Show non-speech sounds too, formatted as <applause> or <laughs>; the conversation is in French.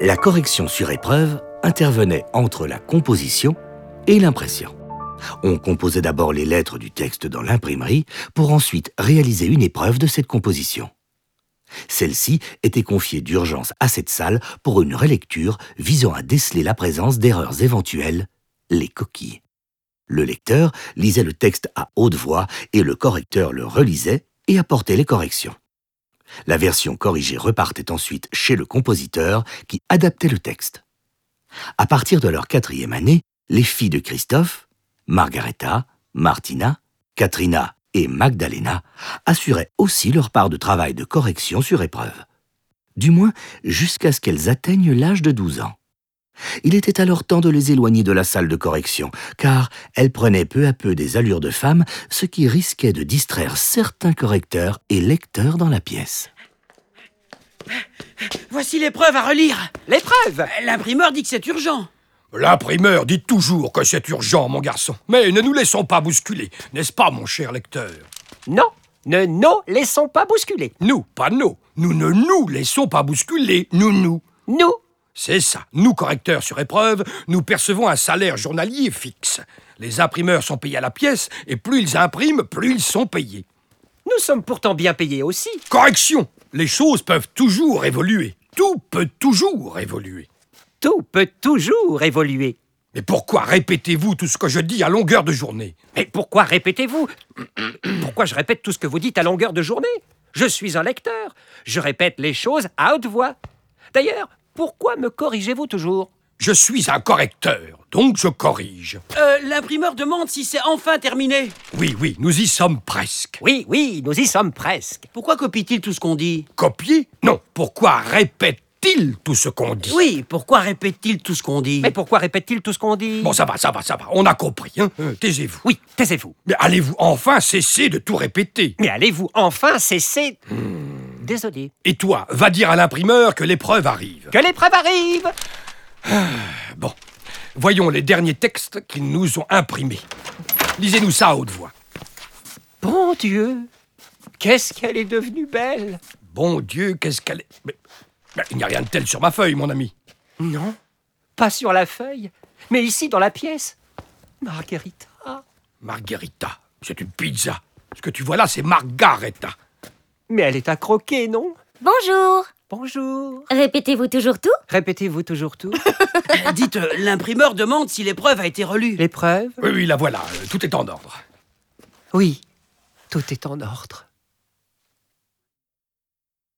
la correction sur épreuve intervenait entre la composition et l'impression. On composait d'abord les lettres du texte dans l'imprimerie pour ensuite réaliser une épreuve de cette composition. Celle-ci était confiée d'urgence à cette salle pour une relecture visant à déceler la présence d'erreurs éventuelles, les coquilles. Le lecteur lisait le texte à haute voix et le correcteur le relisait et apportait les corrections. La version corrigée repartait ensuite chez le compositeur qui adaptait le texte. À partir de leur quatrième année, les filles de Christophe, Margareta, Martina, Katrina et Magdalena assuraient aussi leur part de travail de correction sur épreuve. Du moins jusqu'à ce qu'elles atteignent l'âge de 12 ans. Il était alors temps de les éloigner de la salle de correction, car elles prenaient peu à peu des allures de femmes, ce qui risquait de distraire certains correcteurs et lecteurs dans la pièce. Voici l'épreuve à relire. L'épreuve L'imprimeur dit que c'est urgent. L'imprimeur dit toujours que c'est urgent, mon garçon. Mais ne nous laissons pas bousculer, n'est-ce pas, mon cher lecteur Non, ne nous laissons pas bousculer. Nous, pas nous. Nous ne nous laissons pas bousculer, nous, nous. Nous C'est ça. Nous, correcteurs sur épreuve, nous percevons un salaire journalier fixe. Les imprimeurs sont payés à la pièce, et plus ils impriment, plus ils sont payés. Nous sommes pourtant bien payés aussi. Correction Les choses peuvent toujours évoluer. Tout peut toujours évoluer. Tout peut toujours évoluer. Mais pourquoi répétez-vous tout ce que je dis à longueur de journée Mais pourquoi répétez-vous <clears throat> Pourquoi je répète tout ce que vous dites à longueur de journée Je suis un lecteur. Je répète les choses à haute voix. D'ailleurs, pourquoi me corrigez-vous toujours Je suis un correcteur, donc je corrige. Euh, L'imprimeur demande si c'est enfin terminé. Oui, oui, nous y sommes presque. Oui, oui, nous y sommes presque. Pourquoi copie-t-il tout ce qu'on dit Copier Non, pourquoi répète-t-il tout ce qu'on dit Oui, pourquoi répète-t-il tout ce qu'on dit Mais pourquoi répète-t-il tout ce qu'on dit Bon, ça va, ça va, ça va, on a compris, hein Euh, Taisez-vous. Oui, taisez-vous. Mais allez-vous enfin cesser de tout répéter Mais allez-vous enfin cesser Hmm. Désolé. Et toi, va dire à l'imprimeur que l'épreuve arrive. Que l'épreuve arrive Bon, voyons les derniers textes qu'ils nous ont imprimés. Lisez-nous ça à haute voix. Bon Dieu Qu'est-ce qu'elle est devenue belle Bon Dieu, qu'est-ce qu'elle est... Mais- mais il n'y a rien de tel sur ma feuille, mon ami. Non, pas sur la feuille, mais ici dans la pièce. Ah, Marguerita. Margherita, c'est une pizza. Ce que tu vois là, c'est Margareta. Mais elle est à croquer, non Bonjour Bonjour. Répétez-vous toujours tout Répétez-vous toujours tout. Euh, <laughs> Dites, euh, l'imprimeur demande si l'épreuve a été relue. L'épreuve Oui, oui, la voilà, euh, tout est en ordre. Oui, tout est en ordre.